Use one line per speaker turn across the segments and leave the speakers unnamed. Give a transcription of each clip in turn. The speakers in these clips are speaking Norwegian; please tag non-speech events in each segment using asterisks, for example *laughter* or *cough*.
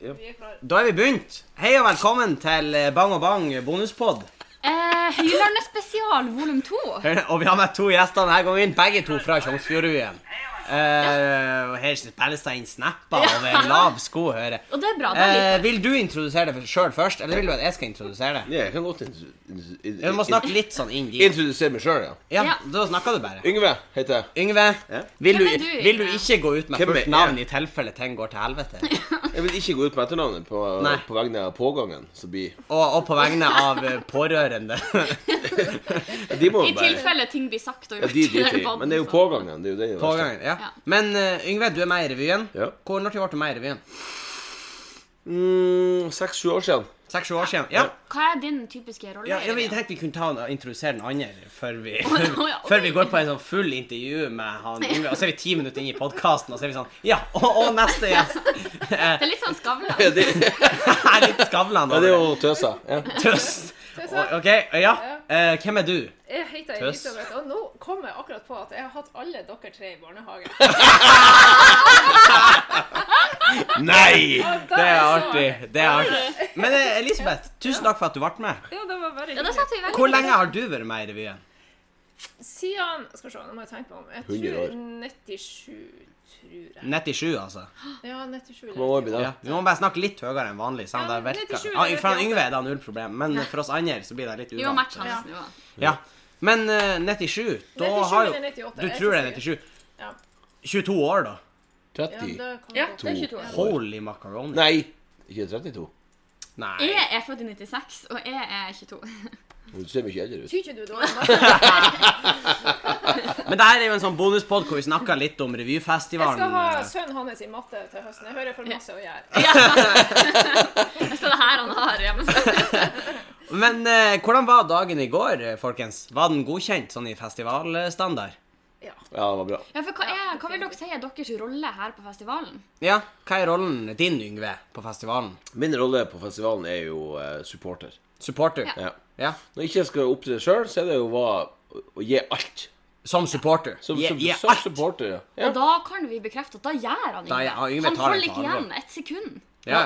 Vi er klare.
Da er vi begynt. Hei og velkommen til eh, Bang og Bang bonuspod.
Eh, Høylandet spesial volum to.
Og vi har med to gjester denne gangen, begge to fra Tjongsfjordruen. Eh, og her spilles det inn snapper
*laughs*
over lav sko, hører jeg.
Og det er bra. da
Eh,
liker
vil du introdusere deg sjøl først, eller vil du at jeg skal introdusere det?
Ja, jeg kan godt intro- in- in-
Du må snakke litt sånn inn
in-
dit.
introdusere meg sjøl, ja.
Ja, da snakker du bare.
Yngve heter jeg.
Yngve,
Ja?
vil
Hvem er
du,
du,
vil du
Yngve?
ikke gå ut med
Hvem er
fullt
jeg?
navn i tilfelle ting går til helvete?
Jeg vil ikke gå ut med etternavnet på,
Nei.
på vegne av pågangen. som blir
Og, og på vegne av eh,
*laughs*
pårørende.
ja, De må
I
jo bare
tilfelle ting blir sagt og
Ja,
gjort.
de
i
driter
den
i.
podden,
Men det er jo
så.
pågangen. Det er jo det
På gangen, ja.
Ja.
Men eh, Yngve, du er med i revyen.
Ja.
Hvor, når ble du med i revyen?
Seks-sju Mm, år siden.
Seks-sju år siden? Ja.
Hva er din typiske rolle?
ja, ja vi
Jørgen?
tenkte vi kunne ta og introdusere den andre før vi,
Å, ja.
før vi går på en sånn full intervju med han Yngve. Og så er vi ti minutter inn i podkasten, og så er vi sånn Ja, og, og neste gjest!
det er litt sånn Skavlan.
Ja, det,
Jeg er litt skavlan
ja, det
over
er
det.
jo tøsa. Ja.
Tøst.
Tøsa.
OK, ja. Eh, hvem er du?
Jeg heter
Tøss.
Elisabeth, og nå kom jeg akkurat på at jeg har hatt alle dere tre i barnehagen.
Nei!
Og
*laughs*
da
Det er
så-
artig. Det er artig. Men eh, Elisabeth, tusen takk for at du ble med.
Ja, det var bare
Ja, det
hyggelig.
satte vi veldig
Hvor lenge har du vært med i revyen?
Siden Skal vi se, nå må jeg tenke meg om. Jeg
100 år.
tror 97, tror jeg.
97, altså.
Ja, 97.
Hvor mange år blir det?
Ja, vi må bare snakke litt høyere enn vanlig. Sånn,
Ja,
det virker.
97
Ja,
eller
for
98.
Yngve er det null problem, men for oss andre så blir det litt
Vi må
uvant.
matche hans nivå.
Ja. Men eh, 97, da
97
har
eller
jo
98,
Du
jeg er
tror det er
ikke
97?
Ja.
22 år, da.
30?
Ja, da kan
Ja,
godt-
det er 22 år.
Holy macaroni.
Nei, ikke 32.
Nei.
Jeg er født i 96, og jeg er 22.
Du ser mye eldre ut.
Tyr ikke du da?
*laughs*
Jeg
Men det her er jo en sånn bonuspod hvor vi snakker litt om
skal ha
revyfestivalen.
sønnen hans i matte til høsten. Jeg hører for masse å gjøre.
*laughs* Så det er her han har hjemme.
Men eh, hvordan var dagen i går, eh, folkens? Var den godkjent sånn i festivalstandard?
Ja.
Ja, det var bra.
Ja, for hva, er, hva vil dere si er deres rolle her på festivalen?
Ja. Hva er rollen din, Yngve, på festivalen?
Min rolle på festivalen er jo eh, supporter.
Supporter?
Ja.
Ja.
Når jeg ikke skal opptre sjøl, så er det jo hva, å, å gi alt.
Som supporter.
Som,
Gi-
som,
gi
som
alt.
supporter, ja. ja.
Og da kan vi bekrefte at da gjør han
Da
Yngve.
gjør- ja, Yngve
han
tar det på
holder ikke
alvor.
igjen ett sekund.
Ja.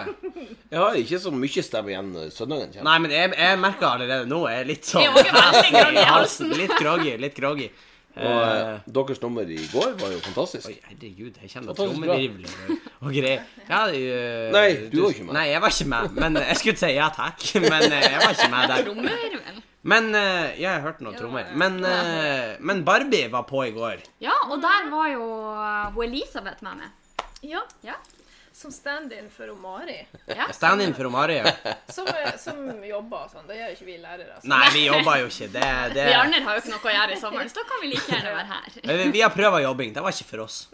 Jeg har ikke så mye stemme igjen eh, når søndagen kommer.
Nei, men jeg, jeg merker allerede nå jeg er litt sånn
Jeg er også veldig groggy
*laughs*
i halsen.
Litt groggy, litt groggy.
Og
Eh,
eh, deres nummer i går var jo fantastisk.
Oi, herregud, jeg kjenner
Fantastisk bra.
trommevirvler og- og greier. Ja, eh,
Nei, du var ikke med.
Nei, jeg var ikke med. Men eh, jeg skulle si ja takk, *laughs* men eh, jeg var ikke med der.
Trommevirvel.
Men eh, ja, jeg hørte noen trommer. Men, eh, men Barbie var på i går.
Ja, og der var jo eh, hun Elisabeth med meg.
ja.
Ja.
Som stand-in for hun Mari.
ja.
Stand-in for Mario.
Som, eh, som jobber og sånn. Det gjør jo ikke vi lærere. så-
Nei, vi jobba jo ikke. Det, det
Vi andre har jo ikke noe å gjøre i sommer, så da kan vi like gjerne være her.
Eh, vi- Vi har prøva jobbing. Det var ikke for oss.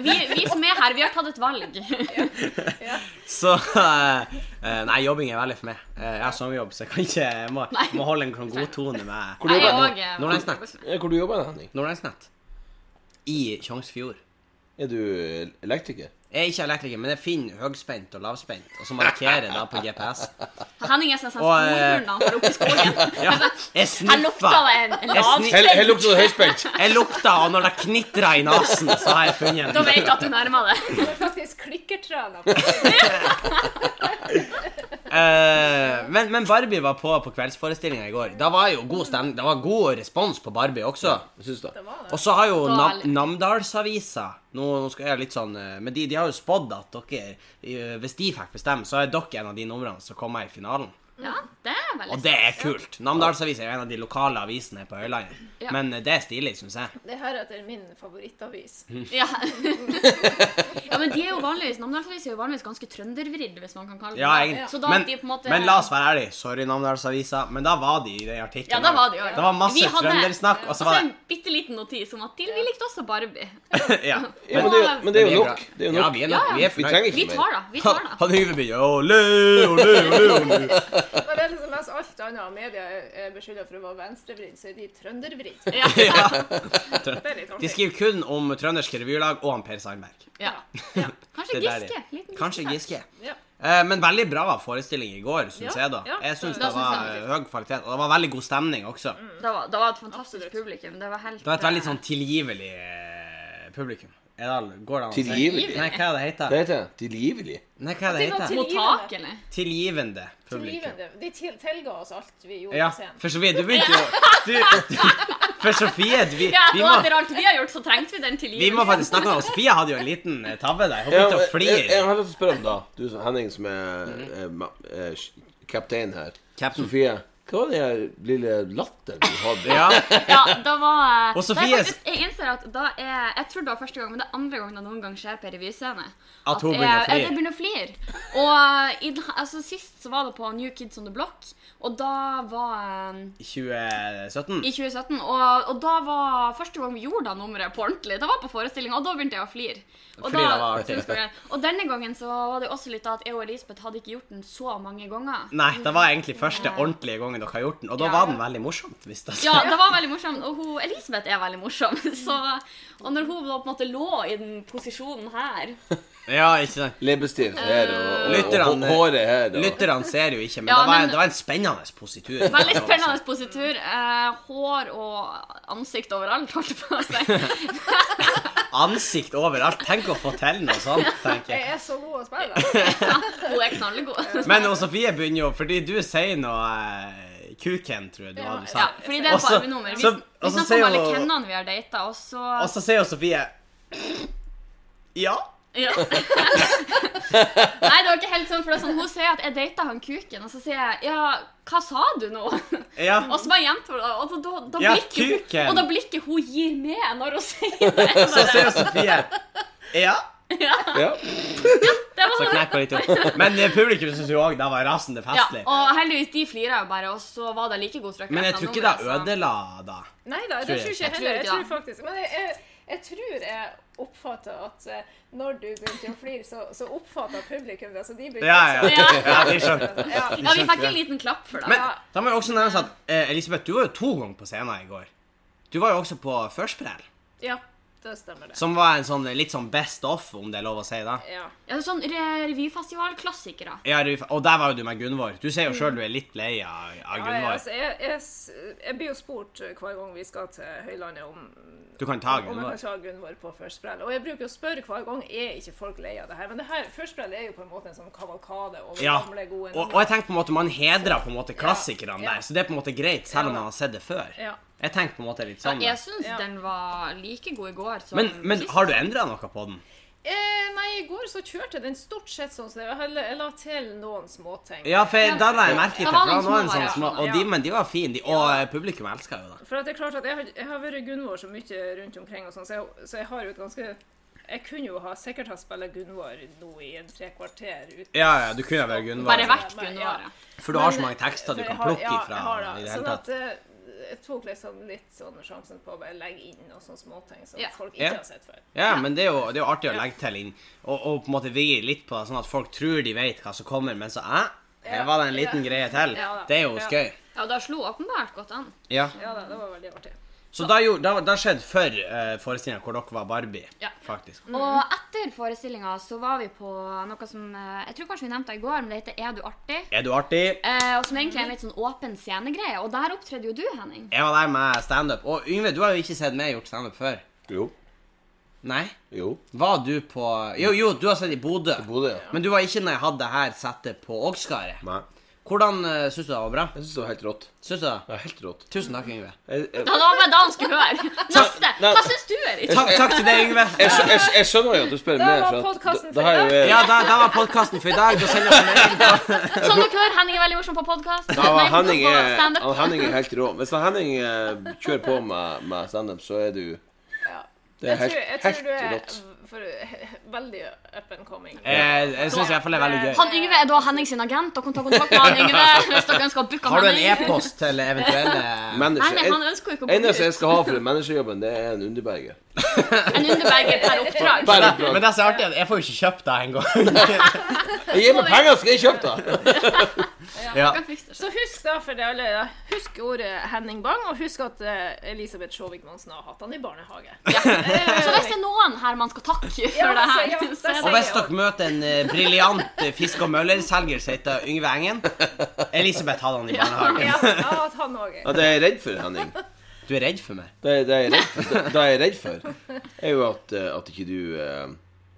Vi, vi som er her, vi har tatt et valg.
Så eh, eh, Nei, jobbing er veldig for meg. Eh, jeg har sommerjobb, så jeg kan ikke Jeg må,
Nei.
må holde en sånn god tone med
Hvor jobber
Jeg eh,
du?
er også-
Nordlandsnett.
Ja, Eh, Hvor du jobber du, Henning?
Nordlandsnett. I Tjongsfjord.
Er du *laughs* elektriker?
Jeg er ikke elektriker, men jeg finner høyspent og lavspent, og så markerer jeg da på GPS.
Henning er sånn som
Og, eh,
sporhund når han går opp i
*laughs*
skogen.
Ja, jeg
Jeg lukta
sniffa.
en, en
Jeg sni-
Her
lavspenn.
her lukter det *laughs* høyspent!
Jeg lukta, og når det knitra i nesen, så har jeg funnet
Da
den.
vet jeg at du nærmer deg.
Hun er faktisk klikkertrena. på
Eh, men, men Barbie var på på kveldsforestillinga i går. Da var jo god stemning. Det var god respons på Barbie også.
Jeg syns det.
Det var det.
Og så har jo
Da
Nam
er det-
Namdalsavisa nå, nå skal jeg litt sånn eh, Men de, de har jo spådd at dere, eh, hvis de fikk bestemme, så er dere en av de numrene som kommer i finalen.
Ja, det er veldig
Og det er kult. Namdalsavisa er jo en av de lokale avisene på Høylandet.
Ja.
Men eh, det er stilig, syns jeg.
Det her er etter min favorittavis.
Mm. *laughs*
Ja. ja, men de er jo vanligvis Namdalsavisa er jo vanligvis ganske trøndervridd, hvis man kan kalle det
Ja,
det.
egentlig.
Så da
men,
at de på en måte-
men la oss være ærlige. Sorry, Namdalsavisa, men da var de i den artikkelen.
Ja, da var de jo
Det var masse
Vi hadde-
trøndersnakk, og så
Og så
var
en bitte liten notis om at de, vi likte også Barbie.
det *laughs* ja.
Ja, men, det er, jo- men det er
vi
jo
bra.
nok. Det er jo
Ja,
nok.
vi er,
Ja,
nok.
ja.
Vi er
Vi
fornøyd.
trenger
Vi
ikke mer.
tar da, vi tar
Han
da.
han Yngve begynner Ole, ole, ole, ole.
Men det er liksom mens alt annet av media er- er beskylda for å være venstrevridd, så er de trøndervridd.
*laughs*
Det
Ja,
er litt
De
artig.
skriver kun om trønderske revylag og han Per Sandberg.
ja. Kanskje
Det er der
Giske. Liten
Kanskje Giske.
Ja.
Eh, Men veldig bra forestilling i går, syns
Ja,
jeg, da.
ja.
Jeg syns
Da
det
synes
var
jeg Mm.
eh, høy kvalitet, og det var veldig god stemning også.
Det var, det var et fantastisk
Absolutt.
sånn-
publikum. Det var helt
Det var et veldig sånn tilgivelig eh, publikum. Er det, går det an å si?
Tilgivelig.
Nei, hva er det heter
Hva heter det? Tilgivelig?
Nei, hva er det
Det var
heter
Mottakelig.
Tilgivende publikum.
Tilgivende. De til, tilga oss alt vi gjorde
Ja,
på scenen.
for Sofie, du begynte jo du, du, For Sofie, vi,
Ja,
vi,
og
må,
etter alt vi har gjort, så trengte vi den
vi må
tilgivelsen.
faktisk snakke om Sofie hadde jo en liten eh, tabbe der. Hun begynte å
jeg, jeg
flire.
har lyst til å spørre om da Du som- Henning, som er eh, ma- eh, sh- kaptein her.
Mhm. Captain.
Sofie, hva var den her lille latteren du hadde?
Ja,
Ja, da var
*laughs* Og
da
Sofie-
er faktisk, Jeg innser at da er Jeg tror det var første gang, men det er andre gangen det noen gang skjer på en revyscene.
At hun
jeg-
begynner å
at Jeg
flire.
begynner å flire. Og i, den- altså, sist så var det på New Kids on the Block, og da var eh,
2017.
I 2017. Og, og da var første gang vi gjorde det nummeret på ordentlig. Det var på forestillinga, og da begynte jeg å flire. Og,
Fordi det
da,
var artig.
synes jeg- *laughs* og denne gangen så var det også litt av at jeg og Elisabeth hadde ikke gjort den så mange ganger.
Nei, det var egentlig første ordentlige gangen dere har gjort den, og da
Ja.
var den veldig morsomt. Hvis det
Ja, det var veldig morsomt. Og hun, Elisabeth er veldig morsom. *laughs* Så, og når hun da på en måte lå i den posisjonen her
*laughs* ja, ikke sant.
Leppestift her og, og, og, hå-
Lytterne-
håret her. Og.
Lytterne ser jo ikke, men,
Ja,
det, var,
men-
det var en spennende positur.
Veldig spennende positur. Eh, hår og ansikt overalt, holdt jeg på å si.
*laughs* Ansikt overalt. Tenk å få til noe sånt, tenker
*laughs*
jeg.
Jeg er så god å spille.
Hun er knallgod.
Men og Sofie begynner jo, fordi du sier noe eh, Kuken, tror jeg du
Ja,
hadde
Ja,
sagt.
fordi det er
Og så-
bare nummer. Vi,
så-
vi
og så
snakker om
sier
alle
hun-
kennene vi har data, og så
Og så sier jo Sofie Ja.
Ja. Nei, det var ikke helt sånn, for det er sånn, hun sier at jeg data han kuken, og så sier jeg ja, hva sa du nå?
Ja.
Og så bare gjentar hun det, og så da, da
Ja,
blikket
kuken.
hun, og da blikket hun gir med når hun sier
*laughs*
det. Jeg
Så sier sånn. jo
Bare,
Sofie Ja.
ja,
Ja.
det var
Så knekker
sånn.
hun litt opp. Men eh, publikum syns jo òg det var rasende
Ja,
festlig.
og heldigvis de flirer jo bare, og så var det like god trøkk.
Men jeg
resten
tror
av
ikke
nummeret,
det
så-
ødela da.
Nei da, det
Tror jeg
tror ikke jeg
ikke.
heller. Jeg
Tror
tror
ikke
faktisk, men jeg, jeg, jeg tror jeg oppfatta at eh, når du begynte å flire, så, så oppfatta publikum det. Så de begynte
Ja, ja.
Ja.
ja de skjønte.
Ja.
Ja, vi fikk en liten klapp for det.
Men da må jeg også nevne at eh, Elisabeth, du var jo to ganger på scenen i går. Du var jo også på Førsprell,
ja, det stemmer det.
som var en sånn eh, litt sånn best off, om det er lov å si det.
Ja.
Ja, sånn re- revyfestivalklassikere.
Ja, du- og der var jo du med Gunvor. Du sier jo sjøl du er litt lei av, av
Ja, ja,
Gunvor.
altså, jeg, jeg, s- jeg blir jo spurt eh, hver gang vi skal til Høylandet om,
Du kan ta
om jeg
Gunvor.
kan ta Gunvor på førstbrell. Og jeg bruker å spørre hhver gang er ikke folk lei av det her. Men det her førstbrell er jo på en måte en sånn kavalkade over
Ja.
gamle, gode
Og, og jeg tenker på en måte man hedrer på en måte klassikerne
Ja.
der, så det er på en måte greit, selv om
Ja.
man har sett det før.
Ja.
Jeg tenker på en måte litt sånn.
Jeg syns
Ja.
den var like god i går som
Men, men
sist.
har du endra noe på den?
Eh, nei, i går så kjørte den stort sett sånn som det var. Jeg, jeg la til noen småting.
Ja, for jeg, da la jeg merke til
Det
for
var
det
noen
var en
små
sånn små,
variasjoner,
og de,
ja.
Men de var fine, de, og eh, publikum elska jo det.
For at det er klart at jeg, har- jeg har vært Gunvor så mye rundt omkring, og sånn, så, jeg, så jeg har jo et ganske Jeg kunne jo ha, sikkert ha spilt Gunvor nå i en tre kvarter. Uten
Ja, ja, du kunne vært Gunvor.
Bare vært
Men-
Gunvor.
ja.
ja.
For du har
Men-
så mange tekster du
Men
kan
jeg har-
plukke
ja,
ifra.
jeg har det.
i det
sånn
hele
at
tatt.
eh, jeg tok liksom litt sånn sjansen på å bare legge inn noen sånne småting som
Ja.
folk ikke
Ja.
har sett før.
Ja, men det er, jo, det er jo artig å legge til inn, og, og på en måte vri litt på det, sånn at folk tror de vet hva som kommer, men så eh, her
Ja.
var det en liten
Ja.
greie til.
Ja da.
Det er jo
Ja.
skøy.
Ja, og da slo åpenbart godt an.
Ja.
Ja da, det var veldig artig.
Så da, gjorde- da, da skjedde før uh, forestillinga hvor dere var Barbie,
Ja.
faktisk.
Og etter forestillinga så var vi på noe som eh, Jeg tror kanskje vi nevnte det i går, men det heter Er du artig?
Er du artig?
Eh, og som egentlig er en litt sånn åpen scenegreie. Og der opptredde jo du, Henning.
Jeg var der med standup. Og Yngve, du har jo ikke sett meg gjort standup før.
Jo.
Nei?
Jo.
Var du på Jo, jo, du har sett i Bodø.
Bodø, ja.
Men du var ikke når jeg hadde det her settet på Ågskaret.
Nei.
Hvordan uh, syns du det var bra?
Jeg syns det var helt rått.
Syns du det?
Det var helt rått.
Tusen takk, Yngve.
Jeg, jeg,
Ja, det var bare da han skulle *laughs* høre. Neste!
Nei.
Hva syns du, Erik?
Takk, takk til deg, Yngve.
jeg, skjø- jeg, skjø- jeg skjønner jo at du spør
Da
mer,
var
for at
podcasten
da- da har
for i
jo jeg
Ja, da, da var podkasten for i dag. Da sender jeg melding på
Som Sånn- dere hører, Henning er veldig morsom på podkast.
Ja, men Henning, er,
eh,
han Henning er helt rå. Hvis han Henning eh, kjører på med, med standup, så er du
Ja.
Det er
Jeg
helt,
tror, jeg tror
helt
du er
rått.
v- for, *laughs* veldig up and coming.
Jeg, Eh, jeg syns iallfall det er veldig gøy.
Han Yngve er da Henning sin agent, og kan ta kontakt med han
*laughs*
Yngve hvis dere ønsker å booke han
Har du en
Henning.
e-post til eventuelle
Nei, nei,
Menneske.
han ønsker jo ikke å
Det eneste
booke
jeg skal ha for den managerjobben, det er en
*laughs*
underberger.
ut en underberger
*laughs*
per oppdrag.
Bare
Men
oppdrag.
det er så artig at jeg får jo ikke kjøpt det engang.
Gi meg penger, skal jeg kjøpe det!
*laughs* Ja.
Dere fikser det.
Så husk da for det alle, da. husk ordet Henning Bang, og husk at eh, Elisabeth Sjåvik Monsen har hatt han i
*laughs*
barnehage. Ja,
Så hvis det er noen her man skal takke
Ja,
for det
altså, ja,
her,
det
så
sier
er
Og
det
hvis dere møter en eh, briljant eh, fisk- og møllerselger som heter Yngve Engen Elisabeth hadde han i barnehagen.
ja, at han også er.
Ja, det er jeg redd for, Henning.
Du er redd for meg?
Det er, det er jeg redd for. Det er jeg redd for. er jo at, eh, at ikke du eh,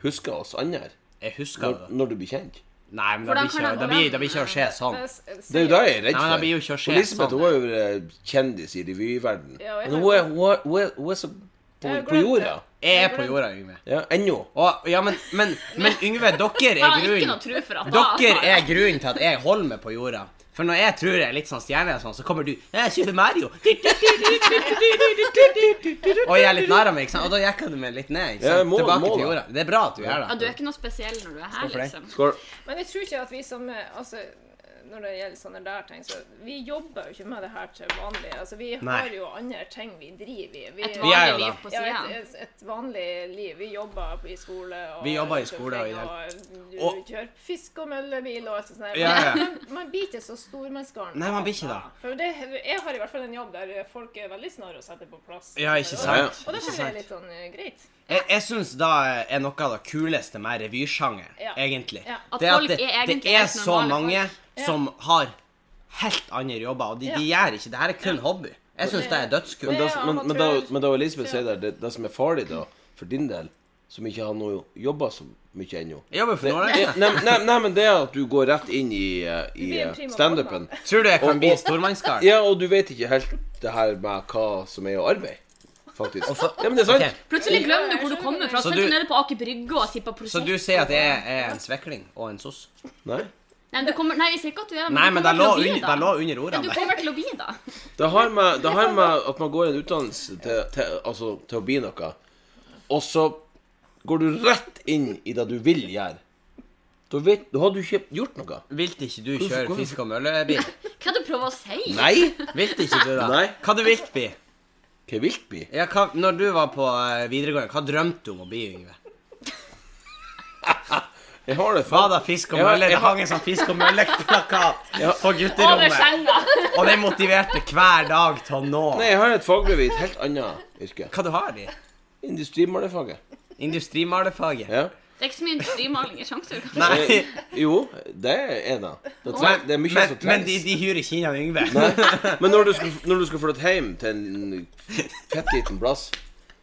husker oss andre
Jeg husker
når,
det.
når du blir kjent.
Nei, men det
Hvordan
blir ikke,
kan han-
det blir, det blir ikke å skje sånn.
Jeg s- sier-
Det er jo da jeg er redd
Nei, men
for.
det blir jo ikke å skje
Og Elisabeth
sånn.
hun er jo eh, kjendis i revyverdenen.
Ja, og jeg
Men hun
har-
er, hun er, hun er, hun er så på,
Jeg har
på
glemt
jorda.
Jeg er på jorda, Yngve.
Ja, Ennå.
Å, ja, men, men, men Yngve, dere
Jeg
er
har ikke noe
grunnen
tro for at
Dere er grunnen til at jeg holder meg på jorda. For når jeg tror jeg er litt sånn stjerne, og sånn, så kommer du «Jeg er Super Mario. Og jeg er litt nær av meg, ikke sant? og da jekker du meg litt ned. Ikke
Ja,
sant?
må-
Tilbake
må
til
da.
jorda. Det er bra at du gjør
Ja, du
det.
er ikke noe spesiell når du er
for
her,
det.
liksom.
Skål.
Men jeg tror ikke at vi som eh, altså, Når det gjelder sånne der ting, så vi jobber jo ikke med det her til vanlig. Altså, vi
Nei.
har jo andre ting vi driver i. Vi,
Vi er
Et vanlig
jo
liv
det.
på
ja, et,
siden.
et, et vanlig liv. Vi jobber i skole. Og
Vi jobber i skole og i
og du
Og-
kjører fisk og møllebil og alt sånt. der.
Ja, ja.
Men Man blir ikke så stormannsgarn.
Nei, man blir ikke det.
For det, jeg har i hvert fall en jobb der folk er veldig snarere å sette på plass.
Ja, ikke
Ja, ja.
sant?
Og det
Ikke
synes jeg er
sant?
litt sånn eh, greit.
Jeg, jeg syns da er noe av det kuleste med revysjangeren,
Ja.
egentlig.
Ja.
At
Det er
folk
at det,
er egentlig
det er
helt
så
normale
mange
folk.
Ja.
som har helt andre jobber, og de, de gjør ikke det. her er kun hobby. Jeg syns det er
Men
dødskult.
da,
Det er
men, men da,
amatør.
men da Elisabeth sier der, det, det som er farlig da, for din del, som ikke har noe jobba så mye ennå
Jeg jobber for Nordland.
Nei,
ikke?
nei, nei, nei, men det er at du går rett inn i, eh, i
blir en
eh,
prima
standupen.
Tror du jeg
Og-
kan bli
og- *laughs*
stormannsgarn?
Ja, og du vet ikke helt det her med hva som er å arbeide, faktisk. Ja, men det er sant.
Ok.
Plutselig glemmer du hvor du kommer fra.
Så
Så
du-
du nede på Aker Brygge og sipper prosjekt.
Så du sier at jeg er en svekling og en sos?
Nei.
Nei, du kommer... Nei, jeg sier ikke at du er
Nei,
du
men det
kommer
lå,
til å bli
un,
det.
det lå under
Men du
ordene.
kommer til å bli da.
Det har med, det har med at man går en utdannelse til, til, altså, til å bli noe, og så går du rett inn i det du vil gjøre. Da, vet, da har du ikke gjort noe.
Vilte ikke du
Hvorfor-
kjøre
hvorfor-
fisk- og møllebil?
Hva er det du prøver å si?
Nei.
Vilte ikke du da?
Nei.
Hva du vilt bli?
Hva vilt bli?
Ja, hva, når du var på eh, videregående, hva drømte du om å bli, Yngve?
Jeg har det
Var
faen.
det fisk og
Jeg har-
mølle? Det
jeg har-
hang en sånn fisk og mølle-plakat
Ja.
på
Over
gutterommet.
skjenga.
Og det motiverte hver dag til å nå.
Nei, jeg har et fagbevis. Helt annet yrke.
Hva du har de?
Industrimalerfaget.
Industrimalerfaget?
Ja.
Det er ikke så mye industrimaling i sjanser. kanskje.
Nei,
Eh, Jo, det er en av. Det, tre, det er mye
men,
som trengs.
men de, de hyrer ikke inn han Yngve.
Men når du, skal, når du skal flytte hjem til en fett liten plass,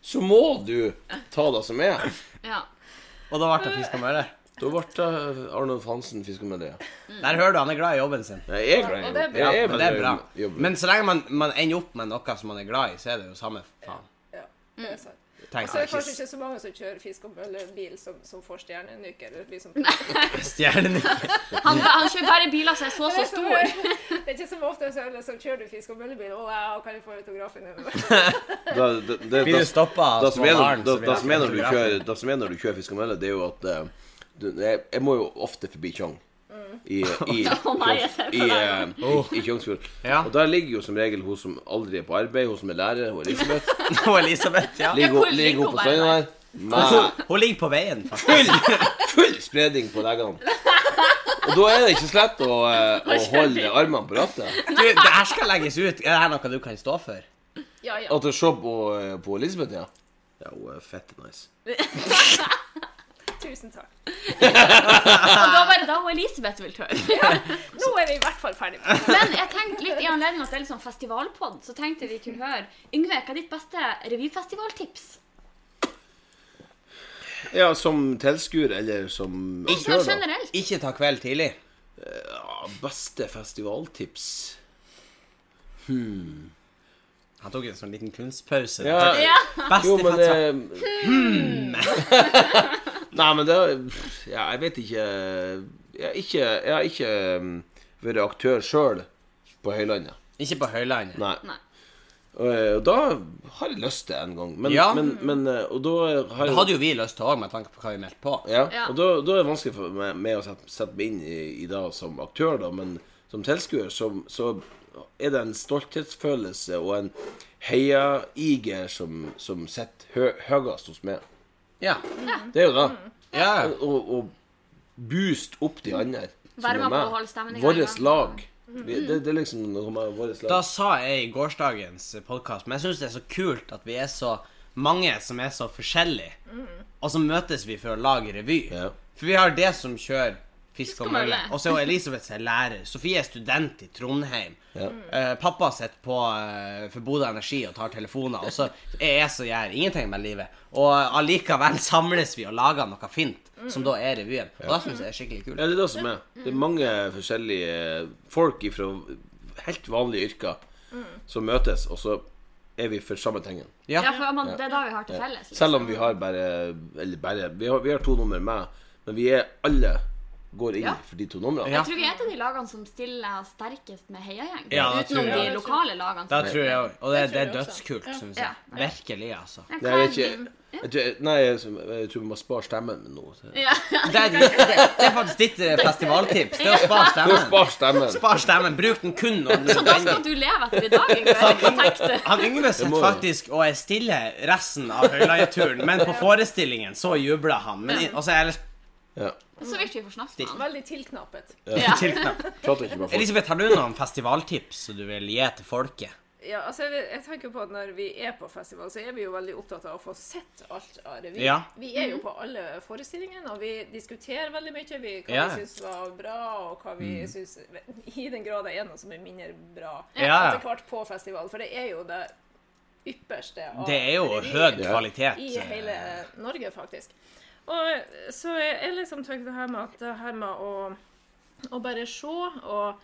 så må du ta det som er.
Ja.
*laughs* Og da ble det fisk og møre.
Da ble det Arnold Hansen fiskemedalje.
Der hører du han er glad i jobben sin.
Nei, jeg er glad i
Og det er
jobb.
bra.
Ja,
Jeg er
men det er
veldig
bra.
jobb-
Men så lenge man, man ender opp med noe som man er glad i, så er det jo samme faen.
Ja,
Mm.
det er sant.
Tenk
Så
deg
er Altså, det kanskje
ikke
ikke så mange som kjører fisk- og møllebil som, som får stjernenykker. eller liksom- blir som-
stjernenykker.
Han, han kjører bare biler som er så, så store.
*laughs* Det er ikke som ofte så, så kjører du fisk- og møllebil, og wow, kan jeg få autografen din? *laughs*
Da- det- det-
Blir du
det-
stoppa av
det som er når-
småbarn,
det- det som er når du
autografen.
kjører- det som er når du kjører fiskemedalje, det er jo at eh, du, jeg, jeg må jo ofte forbi Tjong. I, i,
Å nei, jeg ser på
i,
deg.
eh, i, i Tjongsfjord.
Ja. *laughs*
Og der ligger jo som regel hun som aldri er på arbeid, hun som er lærer, hun Elisabeth.
Og Elisabeth, ja.
Ligger
hvor
hun-
ligger
ligger hun
hun
på stranda der? Med
Hun ligger på veien, faktisk.
full, full spredning på leggene. Og da er det ikke slett å, eh, å holde armene på rattet.
Du, det her skal legges ut. Er det her noe du kan stå for?
Ja, ja.
At å se på, eh, på Elisabeth, ja. Ja, hun er fett nice.
Tusen takk.
Og da var det da hun Elisabeth vil tørre.
Nå er vi i hvert fall ferdig med
*laughs*
det.
Men jeg tenkte litt i anledning at det er litt sånn festivalpod, så tenkte jeg vi kunne høre Yngve, hva er ditt beste revyfestivaltips?
Ja, som tilskuer eller som
Litt sånn
arrangør, da.
generelt.
Ikke ta kveld tidlig.
Ja, beste festivaltips
Han tok en sånn liten kunstpause.
Ja.
Ja.
Best
Jo,
i
men
fatsa.
eh, Hmm. *laughs* Nei, men det Ja, jeg vet ikke Jeg har ikke, jeg har ikke um, vært aktør sjøl på Høylandet.
Ikke på Høylandet.
Nei.
Nei.
Og, eh, og da har jeg lyst til en gang. Men,
Ja.
men, men eh, Og da har
Det
jeg
hadde jo vi lyst til òg, med tanke på hva vi meldte på.
Ja.
Ja.
Og da, da er det vanskelig for meg, meg å sette, sette meg inn i, i det som aktør, da, men som tilskuer så, så er det en stolthetsfølelse og en heiaiger som, som sitter hø, høyest hos meg.
Ja.
Det er jo det.
Mm.
ja.
Og, og boost opp de andre. som
Være
er
med på
meg.
å holde stemningen i
Vårt
gang. Mm.
lag. Vi, det, det er liksom noe med vårt
Da
lag.
sa jeg i gårsdagens podkast, men jeg syns det er så kult at vi er så mange som er så forskjellige, og så møtes vi for å lage revy.
Ja.
For vi har det som kjører Fisk og
og
mølle.
mølle.
Og så er jo Elisabeth sin lærer. Sofie er student i Trondheim.
Ja.
Eh, pappa sitter på eh, for Bodø Energi og tar telefoner, og så er jeg som gjør ingenting med livet. Og allikevel samles vi og lager noe fint, som da er revyen. Og det syns jeg er skikkelig
Ja,
kult.
det er det som er.
Mm.
Det er mange forskjellige folk fra helt vanlige yrker
Mm.
som møtes, og så er vi for samme tingen.
Ja.
Ja, for man, det er da vi har til felles. Liksom.
Selv om vi har bare Eller bare Vi har, vi har to nummer med, men vi er alle går inn
Ja.
for de to numrene.
Ja.
Jeg tror vi er et av de lagene som stiller sterkest med heiagjeng.
Ja, det
utenom
tror
de
jeg.
lokale lagene.
Det tror jeg òg. Og det,
Det
det
tror jeg
er
også.
dødskult,
Ja.
syns
Ja.
jeg. Virkelig, altså.
Men
Nei,
hva
jeg
er
vet ikke
din-
jeg tror, Nei, jeg, jeg tror vi må spare stemmen nå.
Ja. *laughs*
Det er, det det er faktisk ditt eh, festivaltips. Det er å spare stemmen.
Spar stemmen!
Spar stemmen. Bruk den kun når den er
Da
nødvendig.
skal du leve etter i
*laughs*
dag, egentlig. tenkte.
Han Yngve sitter
må du.
faktisk og er stille resten av høyleieturen, men på forestillingen så jubler han. Men i, og så er jeg
Ja.
Så vidt vi får snakket med han.
Veldig tilknappet.
*laughs*
Ja.
tilknapt.
Prater ikke med folk.
Elisabeth, har du noen festivaltips som du vil gi til folket?
Ja, altså jeg, jeg tenker på at Når vi er på festival, så er vi jo veldig opptatt av å få sett alt av revy.
Ja.
Vi er jo på alle forestillingene, og vi diskuterer veldig mye vi, hva
Ja. Mhm.
vi syns var bra, og hva vi syns I den grad det er noe som er mindre bra
Ja.
etter hvert på festival. For det er jo det ypperste av
Det er jo
revy
høy
Ja.
kvalitet.
i hele
eh,
Norge, faktisk. Og så jeg jeg liksom tenker det her med at det her med å, å bare se og,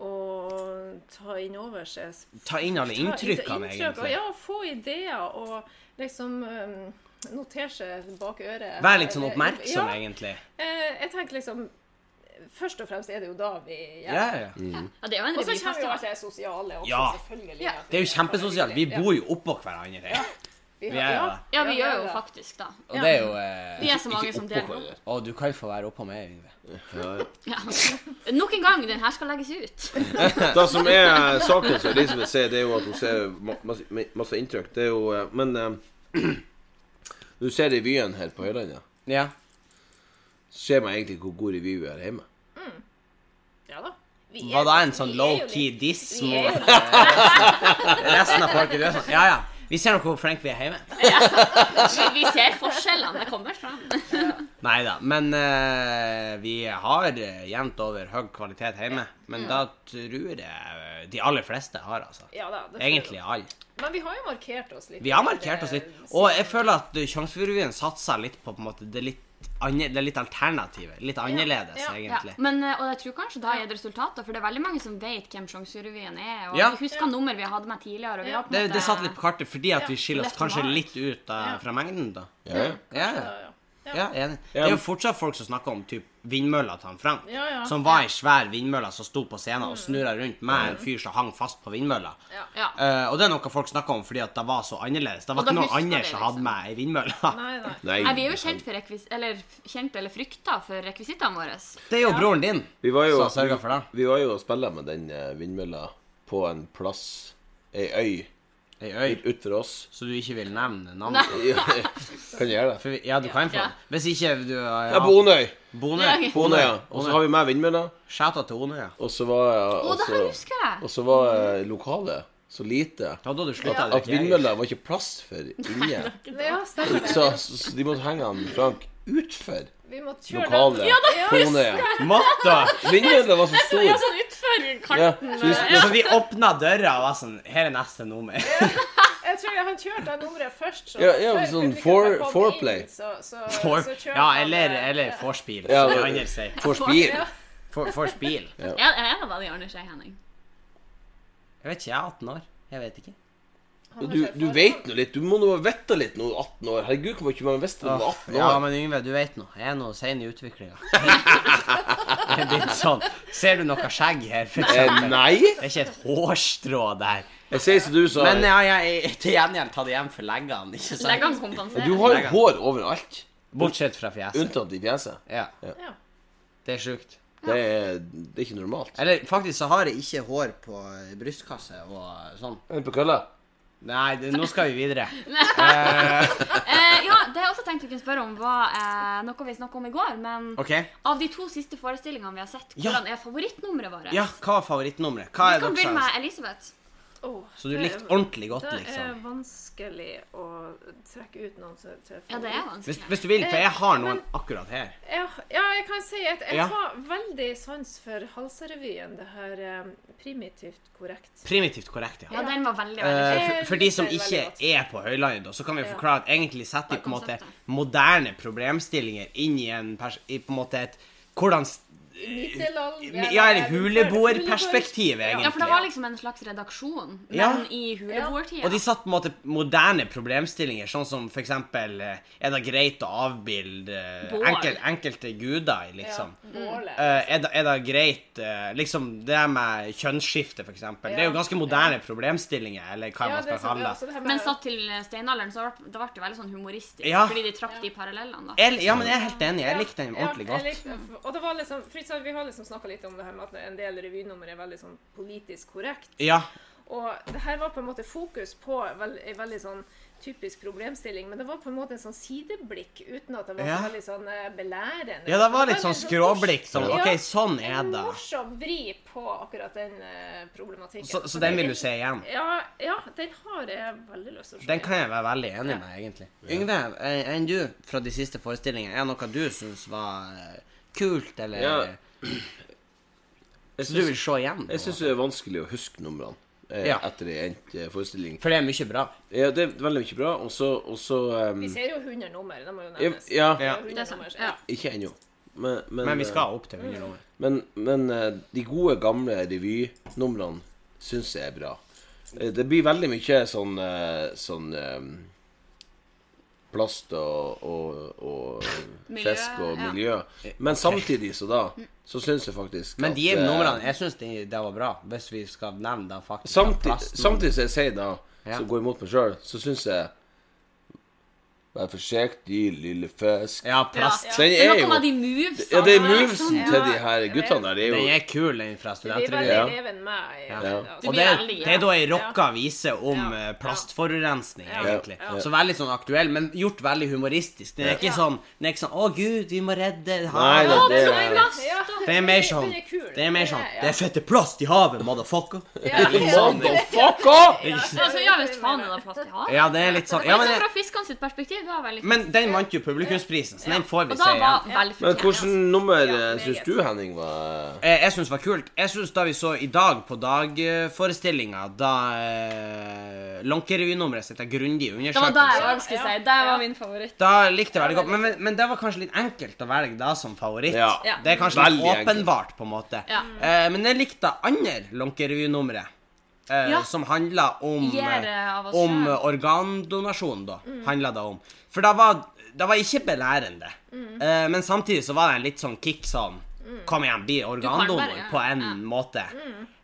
og ta inn over seg
Ta inn alle
ta-
inntrykkene,
inntrykk, og
egentlig.
Ja, få ideer og liksom um, notere seg bak øret.
Vær litt sånn
Eller-
oppmerksom,
Ja,
egentlig.
eh, jeg tenker liksom Først og fremst er det jo da vi gjør
Ja,
det.
ja. ja.
Ja, det er jo en
Og så kommer jo alt
revyfestival.
det sosiale også,
Ja.
selvfølgelig.
Ja.
at
Det er jo kjempesosialt. Vi bor jo oppå hverandre.
vi,
vi er jo det.
Ja, vi gjør jo
det.
faktisk da.
Og det er jo eh,
Vi er så mange
Ikke
som
oppå
deler
hverandre.
opp.
Å, du kan få være oppå meg, Yngve.
Ja, ja.
Ja. *laughs* Nok en gang, den her skal legges
*laughs*
ut.
Det som er saken som Elisabeth sier, det er jo at hun ser ma- masse, masse inntrykk. Det er jo eh, Men eh, *clears throat* når du ser revyen her på Høylandet,
Ja.
så ser man egentlig hvor god revy vi er hjemme.
Ja da. Vi er-
Var det en sånn
vi er jo
low-key
litt-
diss
Vi
mot
er jo
resten av folket? Du er sånn Ja, ja. Vi ser nå hvor flinke vi er hjemme.
Vi, vi ser forskjellene. Det kommer fram.
Nei da, men eh, vi har eh, jevnt over høy kvalitet hjemme. Men da tror jeg eh, de aller fleste har, altså.
Ja da, det tror jeg.
Egentlig alle.
Men vi har jo markert oss litt.
Vi har markert oss litt. Og jeg føler at eh, Tjongsfjordrevyen satser litt på, på en måte, det litt, anne, det litt alternative. Litt annerledes,
ja,
Ja.
Mm.
egentlig.
Men, eh, og jeg tror kanskje da er det resultater, for det er veldig mange som vet hvem Sjongsrevyen er. Og
Ja.
vi husker nummer vi hadde med tidligere. Og vi har på en
Det,
måte-
det satt litt på kartet fordi at vi skiller oss
lett
kanskje
mark.
litt ut da, fra mengden, da.
Ja, ja.
Ja,
Ja, ja.
ja, enig. Det er jo fortsatt folk som snakker om typ, vindmølla til han Frank.
Ja, ja.
Som var ei svær vindmølle som sto på scenen og snurra rundt med en fyr som hang fast på vindmølla.
Ja.
Ja.
Eh, og det er noe folk snakker om fordi at det var så annerledes. Det var
Og da
ikke noen
husker
andre
det,
som
liksom.
hadde med ei vindmølle.
*laughs* Nei, nei.
Nei,
Nei, vi er jo kjent, for rekvis eller, kjent eller frykta for rekvisittene våre.
Det er jo broren din
Vi var jo,
som sørga for det.
vi var jo og spilla med den eh, vindmølla på en plass, ei øy
Ei øy
ut- utfor oss. *laughs*
så du ikke vil nevne navnet på.
Ja, kan jeg gjøre det?
For vi- Ja, du kan få
Ja.
den. Hvis ikke du
Ja, på Onøy.
Bonøy.
På Onøy, ja. Og så har vi med vindmølla,
Skjæta til Onøy. ja. altså-
og så var eh,
Å,
og
det her
så-
husker jeg!
Og så var eh, lokalet så lite
Da hadde du slutta
at vindmølla var ikke plass for inne.
Ja, stemmer det.
Så, så, så de måtte henge han Frank utfor
Vi må kjøre
lokalet.
den.
Ja,
husker
Matta!
Vindmølla var så
Ja,
stor.
sånn utfor
Ja,
kanten.
så vi,
Så vi åpna døra og var sånn Her er neste nummer.
Jeg tror jeg har kjørt det nummeret først. Så
Ja, ja,
før
sånn
publikum
for-
kom inn,
foreplay.
Så,
*laughs*
så,
For,
så kjørte
ja,
han
eller,
det.
eller forspill,
Ja,
som de
det-
andre sier.
forspil.
For, forspill.
Ja, er det da de andre sier, Henning?
Jeg vet ikke, jeg er 18 år. Jeg vet ikke.
Han har
Du,
kjørt
du
foran.
vet nå litt. Du må nå ha vetta litt nå, 18 år. Herregud, hvor mye man visste da man var 18
Ja,
år.
men Yngve, du vet nå. Jeg er nå sein i utviklinga. *laughs* Jeg er blitt sånn Ser du noe skjegg her, for
Eh,
eksempel?
nei.
Det er ikke et hårstrå der.
Jeg sier som du sa.
Men ja, jeg til gjengjeld tatt igjen for leggene, ikke sant?
Leggene kompenserer.
Du har jo hår overalt,
Bortsett fra fjeset.
unntatt i fjeset.
Ja,
Ja.
det er sjukt.
Det er, det er ikke normalt.
Eller faktisk så har jeg ikke hår på eh, brystkasse og sånn.
Men på kølla
Nei, det, nå skal vi videre.
*laughs* Eh, ja, det jeg også tenkte vi kunne spørre om, var eh, noe vi snakket om i går. Men
OK?
av de to siste forestillingene vi har sett,
Ja.
hvordan er favorittnummeret vårt?
Ja, hva var favorittnummeret? Hva
Vi
er
kan
deres?
begynne med Elisabeth.
Åh,
Så du
det
likte
er-
ordentlig godt,
Det er
liksom.
vanskelig å trekke ut noen som til
Ja, det er vanskelig.
Hvis, hvis du vil, for jeg har
Eh,
noen akkurat her.
Ja, ja, jeg kan si at jeg
Ja.
har veldig sans for Halsarevyen, det her eh, primitivt korrekt.
Primitivt korrekt, ja.
Ja, den var veldig, veldig
Eh, for,
Jeg
for de
liker
som
det veldig
ikke
godt.
er på høylandet, da, så kan vi
Ja.
forklare at egentlig setter de på en måte
Konseptet.
moderne problemstillinger inn i en, pers i på en måte et Hvordan s-
Middelalder-
Ja, eller huleboerperspektiv,
Ja.
Ja, for det
egentlig.
var liksom en slags redaksjon, men
Ja.
i huleboertida.
Og de satt på en måte moderne problemstillinger, sånn som for eksempel eh, Er det greit å avbilde eh,
Bål.
enkel, enkelte guder, liksom?
Ja, bålet.
Eh, er, det, er det greit eh, Liksom det med kjønnsskifte, for eksempel. Det er jo ganske moderne problemstillinger, eller hva
Ja,
man
det
skal
er sånn,
kalle
ja,
det.
så det her med-
Men satt til steinalderen, så ble det ble det veldig sånn humoristisk.
Ja.
Fordi de trakk de parallellene, da.
Jeg- Ja, men jeg er helt enig. Jeg
Ja,
likte den ordentlig
ja,
godt.
jeg likte- og det var liksom, for eksempel, Vi har liksom snakka litt om det her med at en del revynummer er veldig sånn politisk korrekt.
Ja.
Og det her var på en måte fokus på vel- en veldig sånn typisk problemstilling, men det var på en måte en sånn sideblikk uten at det var så
Ja.
veldig sånn eh, belærende.
ja, det var
veldig
litt sånn skråblikk. Sånn,
Ja.
OK, sånn er
En
det.
morsom vri på akkurat den eh, problematikken.
Så, så den vil du se igjen?
Ja, ja, den har jeg veldig lyst til å se.
Den kan jeg være veldig enig med, egentlig. Yngve, eh, enn du fra de siste forestillingene, er det noe du syns var eh, kult, eller
Ja,
*clears throat*
Jeg
Så du vil
syns,
se igjen? på en
jeg syns
måte?
det er vanskelig å huske numrene eh,
Ja.
etter ei endt eh, forestilling.
For det er mye bra.
Ja, det er veldig mye bra, og så og så,
Vi
ehm,
ser jo 100 nummer, det må jo
ja,
nevnes.
ja,
Ja.
Det er jo 100
Det er sant,
nummer,
ja.
ikke ennå. Men, men,
Men vi
eh,
skal opp til 100 nummer.
Men, men eh, de gode, gamle revynumrene syns jeg er bra. Eh, Det blir veldig mye sånn, eh, sånn eh, plast og, og, og
Miljø,
fisk og
ja.
miljø. Men samtidig så da, så syns jeg faktisk
Eh, Men de
at, eh,
numrene, jeg syns de, det var bra, hvis vi skal nevne det faktisk.
samti-
Plasten.
Samtidig som jeg sier da,
Ja.
som går imot meg sjøl, så syns jeg Vær forsiktig, lille fisk.
Ja, plast.
Ja.
Den
Det
er
er
jo-
noe med de movesa.
Ja, det er
da,
movesen
liksom.
til de her guttene der. Det er jo
Den er kul, den fra
Vi er
studentrevyen.
veldig
Ja.
reven med. i-
Ja.
Ja.
Du
Og
blir
det,
veldig
det er da ei rocka
Ja.
vise om
Ja.
eh,
Ja.
plastforurensning,
Ja.
egentlig.
Ja.
Så veldig sånn aktuell, men gjort veldig humoristisk. Den er ikke
Ja.
sånn den er ikke sånn 'Å, gud, vi må
Nei,
redde havet'.
nei, det
Åpne
er-
glass,
Ja.
da.
Det er mer sånn
Den er kul.
Det er mer sånn
Ja.
Det er fette plast i havet, motherfucker.
Ja.
Litt sånn.
Motherfucker!
Altså, ja visst faen er det plass til havet.
Ja, det er litt sånn. Ja,
men
men,
fra fiskene sitt perspektiv, det var veldig
men den vant jo publikumsprisen, så den får
Og
vi
da
se
var altså.
igjen.
Men
velfortjent.
hvilket nummer
Ja,
ja, syns
meget.
du, Henning, var
Eh, Jeg syns det var kult. Jeg syns da vi så i dag på dagforestillinga, da eh, Lånkerevynummeret sitt er grundig
Det var det jeg
undersøkelse.
også skulle si. Det var min favoritt.
Da likte jeg veldig godt, men, men, men det var kanskje litt enkelt å velge deg som favoritt.
Ja.
Ja.
Det er kanskje litt
Veldig enkelt.
åpenbart, på en måte.
Ja.
Eh, men jeg likte andre Lånkerevynummeret, eh,
Ja.
som handla om
Gjør
eh,
av oss
om
selv. Mm.
organdonasjon, da, handla det om. For det var, det var ikke belærende.
Mm.
Eh, men samtidig så var det en litt sånn kick sånn Kom igjen, bli organdonor
bare, ja. Mm.
på en måte.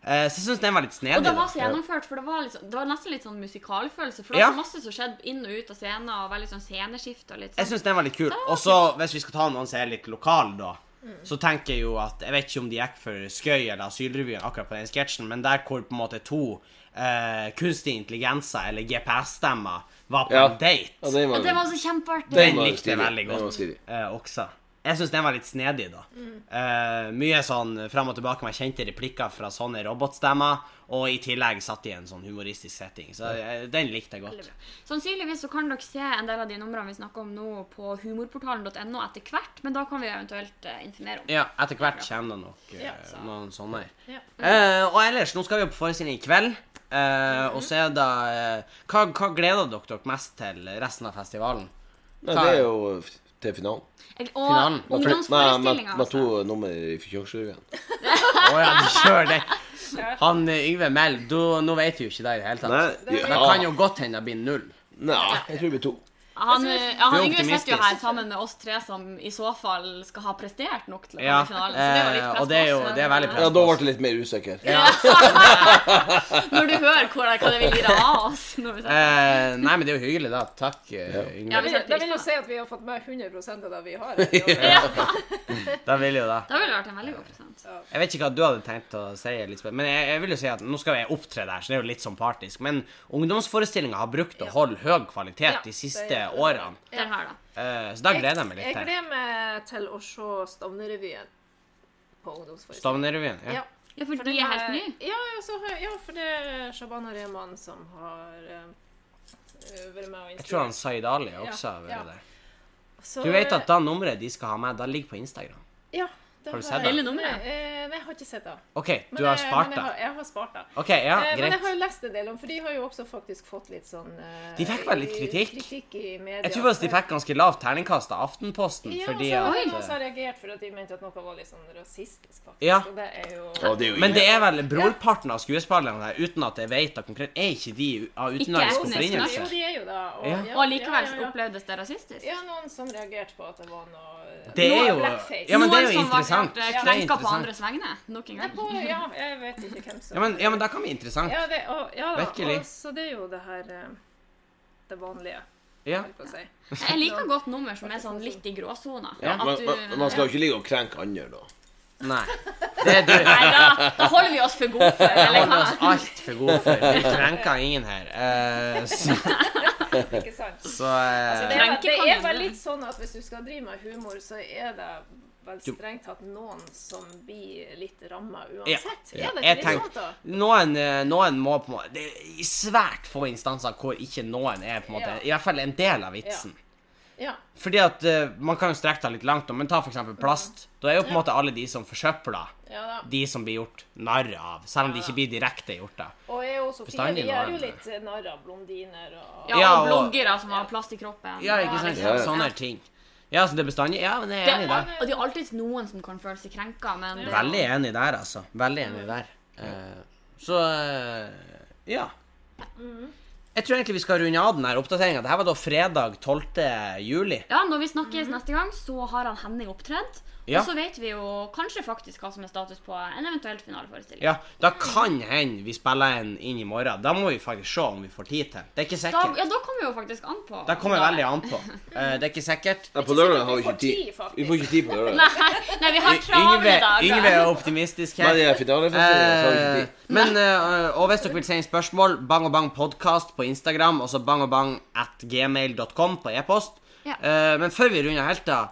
Eh, så jeg syns den var litt snedig.
Og det var
da.
så gjennomført, for det var, liksom, det var nesten litt sånn musikalfølelse. For det
Ja.
var så masse som skjedde inn og ut av scenen, og veldig sånn sceneskift og litt
Jeg
sånn.
syns den var litt kul. Og så, hvis vi skal ta noen som er litt lokale, da, så tenker jeg jo at Jeg vet ikke om de gikk for Skøy eller Asylrevyen akkurat på den sketsjen, men der hvor på en måte to eh, kunstige intelligenser, eller GPS-stemmer, var på
Ja.
en date.
Ja, den
Og det var
var
så kjempeartig.
Den
var
likte jeg
stilig.
veldig
Den var
godt
stilig.
eh, også. Jeg syns den var litt snedig, da. Eh, mye sånn fram og tilbake med kjente replikker fra sånne robotstemmer, og i tillegg satt de i en sånn humoristisk setting. Så eh, den likte jeg godt.
Sannsynligvis så kan dere se en del av de numrene vi snakker om nå på humorportalen.no etter hvert, men da kan vi eventuelt eh, informere om.
Ja, etter hvert kommer det nok eh,
Ja.
noen sånne.
Ja.
Eh, og ellers, nå skal vi jo på forestilling i kveld. Eh, Og så er det eh, hva, hva gleder dere dere mest til resten av festivalen?
Nei, det er jo f- til finalen.
Jeg-
Finalen.
Og
med,
ungdomsforestillinga,
med to
altså.
nummer i Kjøkkenstuen.
Å ja, du kjører den. Han eh, Yngve Mell, du, nå vet du jo ikke det i det hele tatt.
Nei,
Det
ja.
kan jo godt hende det blir null.
Nei, jeg tror det blir to.
Han, eh, ja,
Du
han
er
Yngve sitter jo
optimistisk.
her sammen med oss tre som i så fall skal ha prestert nok til å komme
Ja,
i finalen. Så det er jo litt
eh,
press
og det er
på
jo-
oss,
det er
men,
veldig
eh,
press.
Ja, da ble jeg litt mer usikker.
eh, Når du hører hvor, hva det vil gjøre av oss. Når vi sier-
Eh, nei, men det er jo hyggelig, da. Takk, eh, Yngve.
Ja, vi
Men
setter
Da
pris på
vil jo
det.
si at vi har fått med 100 av det
*laughs*
vi har.
*laughs*
Da vil jo da.
Det ville vært en veldig god present.
Jeg vet ikke hva du hadde tenkt å si, Elisabeth, men jeg, jeg vil jo si at nå skal jeg opptre der, så det er jo litt sånn partisk. Men ungdomsforestillinga har brukt å holde høy kvalitet
Ja,
de
det
siste
er-
årene,
Den her, da.
Eh, så da gleder jeg meg litt
Jeg
til
gleder meg til å se Stavnerevyen på ungdomsforestilling.
Stavnerrevyen. Ja.
Ja.
Ja, for, de
den
er helt nye.
Ja, ja, så har, ja, for det er Shabana Rehman som har eh, vært med og
Jeg tror han Zaid Ali også
Ja,
har
ja.
vært det. Du vet at da nummeret de skal ha med, da ligger på Instagram.
eh, ja, det
Har du sett
jeg-
det?
Hele nummeret?
Nei, eh, nei, jeg har ikke sett det.
OK,
Men
du har
jeg-
spart
men jeg
det.
har- Jeg har spart det.
OK, ja,
Eh, Men jeg
greit.
har jo lest en del om, for de har jo også faktisk fått litt sånn eh,
De fikk vel litt kritikk?
kritikk i media.
Jeg tror faktisk de fikk ganske lavt terningkast av Aftenposten
ja,
fordi at
så
eh,
har de også reagert for at de mente at noe var litt sånn rasistisk, faktisk.
Ja.
Og det er jo
Ja, det er jo
Men det
ingen-
er vel brorparten av skuespillerne der, uten at jeg vet det konkret, er ikke de av utenlandsk
etnisk
opprinnelse?
Jo, de er jo da, og,
Ja.
Og likevel
ja,
så
ja, ja.
opplevdes det rasistisk.
Ja, noen som reagerte på at det var noe
Det
noe
er jo
blackface.
Ja, men det er jo
Noen som var klart,
interessant.
eh,
Det er
krenka på
interessant.
andres vegne. Nok en
Nei,
gang.
på, ja, jeg vet ikke hvem som
Ja, men, ja, men da kan vi interessant.
Ja, det, og, ja da,
Virkelig.
og, så det er jo det her eh, Det vanlige,
Ja.
holdt på å si.
Jeg liker godt nummer som er sånn litt i gråsona.
Ja,
At
man,
du-
man, man skal jo ikke ligge og krenke andre, da.
Nei. Det er du.
Nei, da, da holder vi oss for gode for eller
Holder oss
hva?
altfor gode for. Vi krenker ingen her. Eh, så
Ikke sant?
så eh,
Det er, vel- det er
Krenkekongen,
vel
det.
litt sånn at hvis du skal drive med humor, så er det vel
Du-
strengt tatt noen som blir litt ramma
Ja.
uansett.
Ja.
Er det
Jeg
ikke litt
tenk-
sånn, da?
noen, eh, noen må på en måte Det er svært få instanser hvor ikke noen er på en måte
Ja.
I hvert fall en del av vitsen.
Ja.
Fordi at eh, Man kan jo strekke det litt langt, men ta for eksempel plast. Da er jo på en måte alle de som forsøpler,
ja da.
de som blir gjort narr av. Selv om de ikke blir direkte gjort det.
Og jeg og Sofie
Bestandig
vi er jo
noen-
litt eh, narr av blondiner og
Ja,
Ja,
og
og-
bloggere som har plast i kroppen.
Ja, ikke sant?
Ja, ja.
Sånne ting. Ja, så det er bestandig Ja, men jeg
Det
er enig
er,
der.
al- og det er alltid noen som kan føle seg krenka, men det,
Veldig enig der, altså. Veldig enig der. Eh, så eh, ja. Mm. Jeg tror egentlig vi skal runde av denne oppdateringa. Dette var da fredag 12. juli.
Ja, når vi snakkes neste gang, så har han Henning opptredd.
Ja.
Og så vet vi jo kanskje faktisk hva som er status på en eventuell finaleforestilling.
Ja, Da kan hende vi spiller en inn i morgen. Da må vi faktisk se om vi får tid til. Det er ikke
Da,
sikkert.
ja, da kommer vi jo faktisk an på.
Det kommer veldig an på. Eh, det er ikke sikkert.
Nei, på
sikkert
lørdag har
vi
vi ikke
får tid,
tid.
faktisk.
Vi får ikke tid på lørdag.
Nei, nei, vi altså. har travle
Yngve,
dager.
Yngve er optimistisk
Men
her.
det er finaleforstillingen, så har vi ikke
Eh,
tid.
men, eh, og hvis dere vil sende spørsmål, bang og bang podcast på Instagram, og så bang og bang at gmail.com på e-post.
Ja.
Eh, men før vi runder helt da,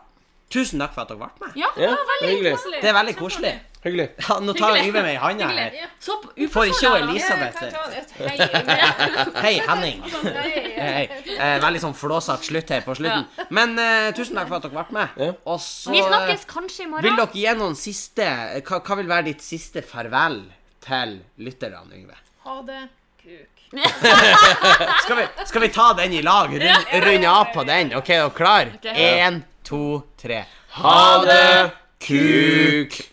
tusen takk for at dere ble med.
Ja, det
Ja,
var veldig
hyggelig.
koselig.
Det er veldig koselig.
Hyggelig.
Ja, nå tar jeg Yngve med i handa
Hyggelig.
her.
Så på-
Får ikke hun
uforsonlig, da.
Ja, jeg
Elisabeth
kan ta det. Hei,
Hei, Henning.
Hei.
Hei. Eh, veldig sånn flåsete slutt her på slutten. Men eh, tusen takk for at dere ble
Ja.
med. Og så eh,
Vi snakkes kanskje i morgen.
vil dere gi noen siste eh, hva, hva vil være ditt siste farvel til lytterne, Yngve?
Ha det, kuk.
Skal vi, skal vi ta den i lag? Rund, Runde av på den. OK, er dere klar? Én, to, tre.
Ha det, kuk!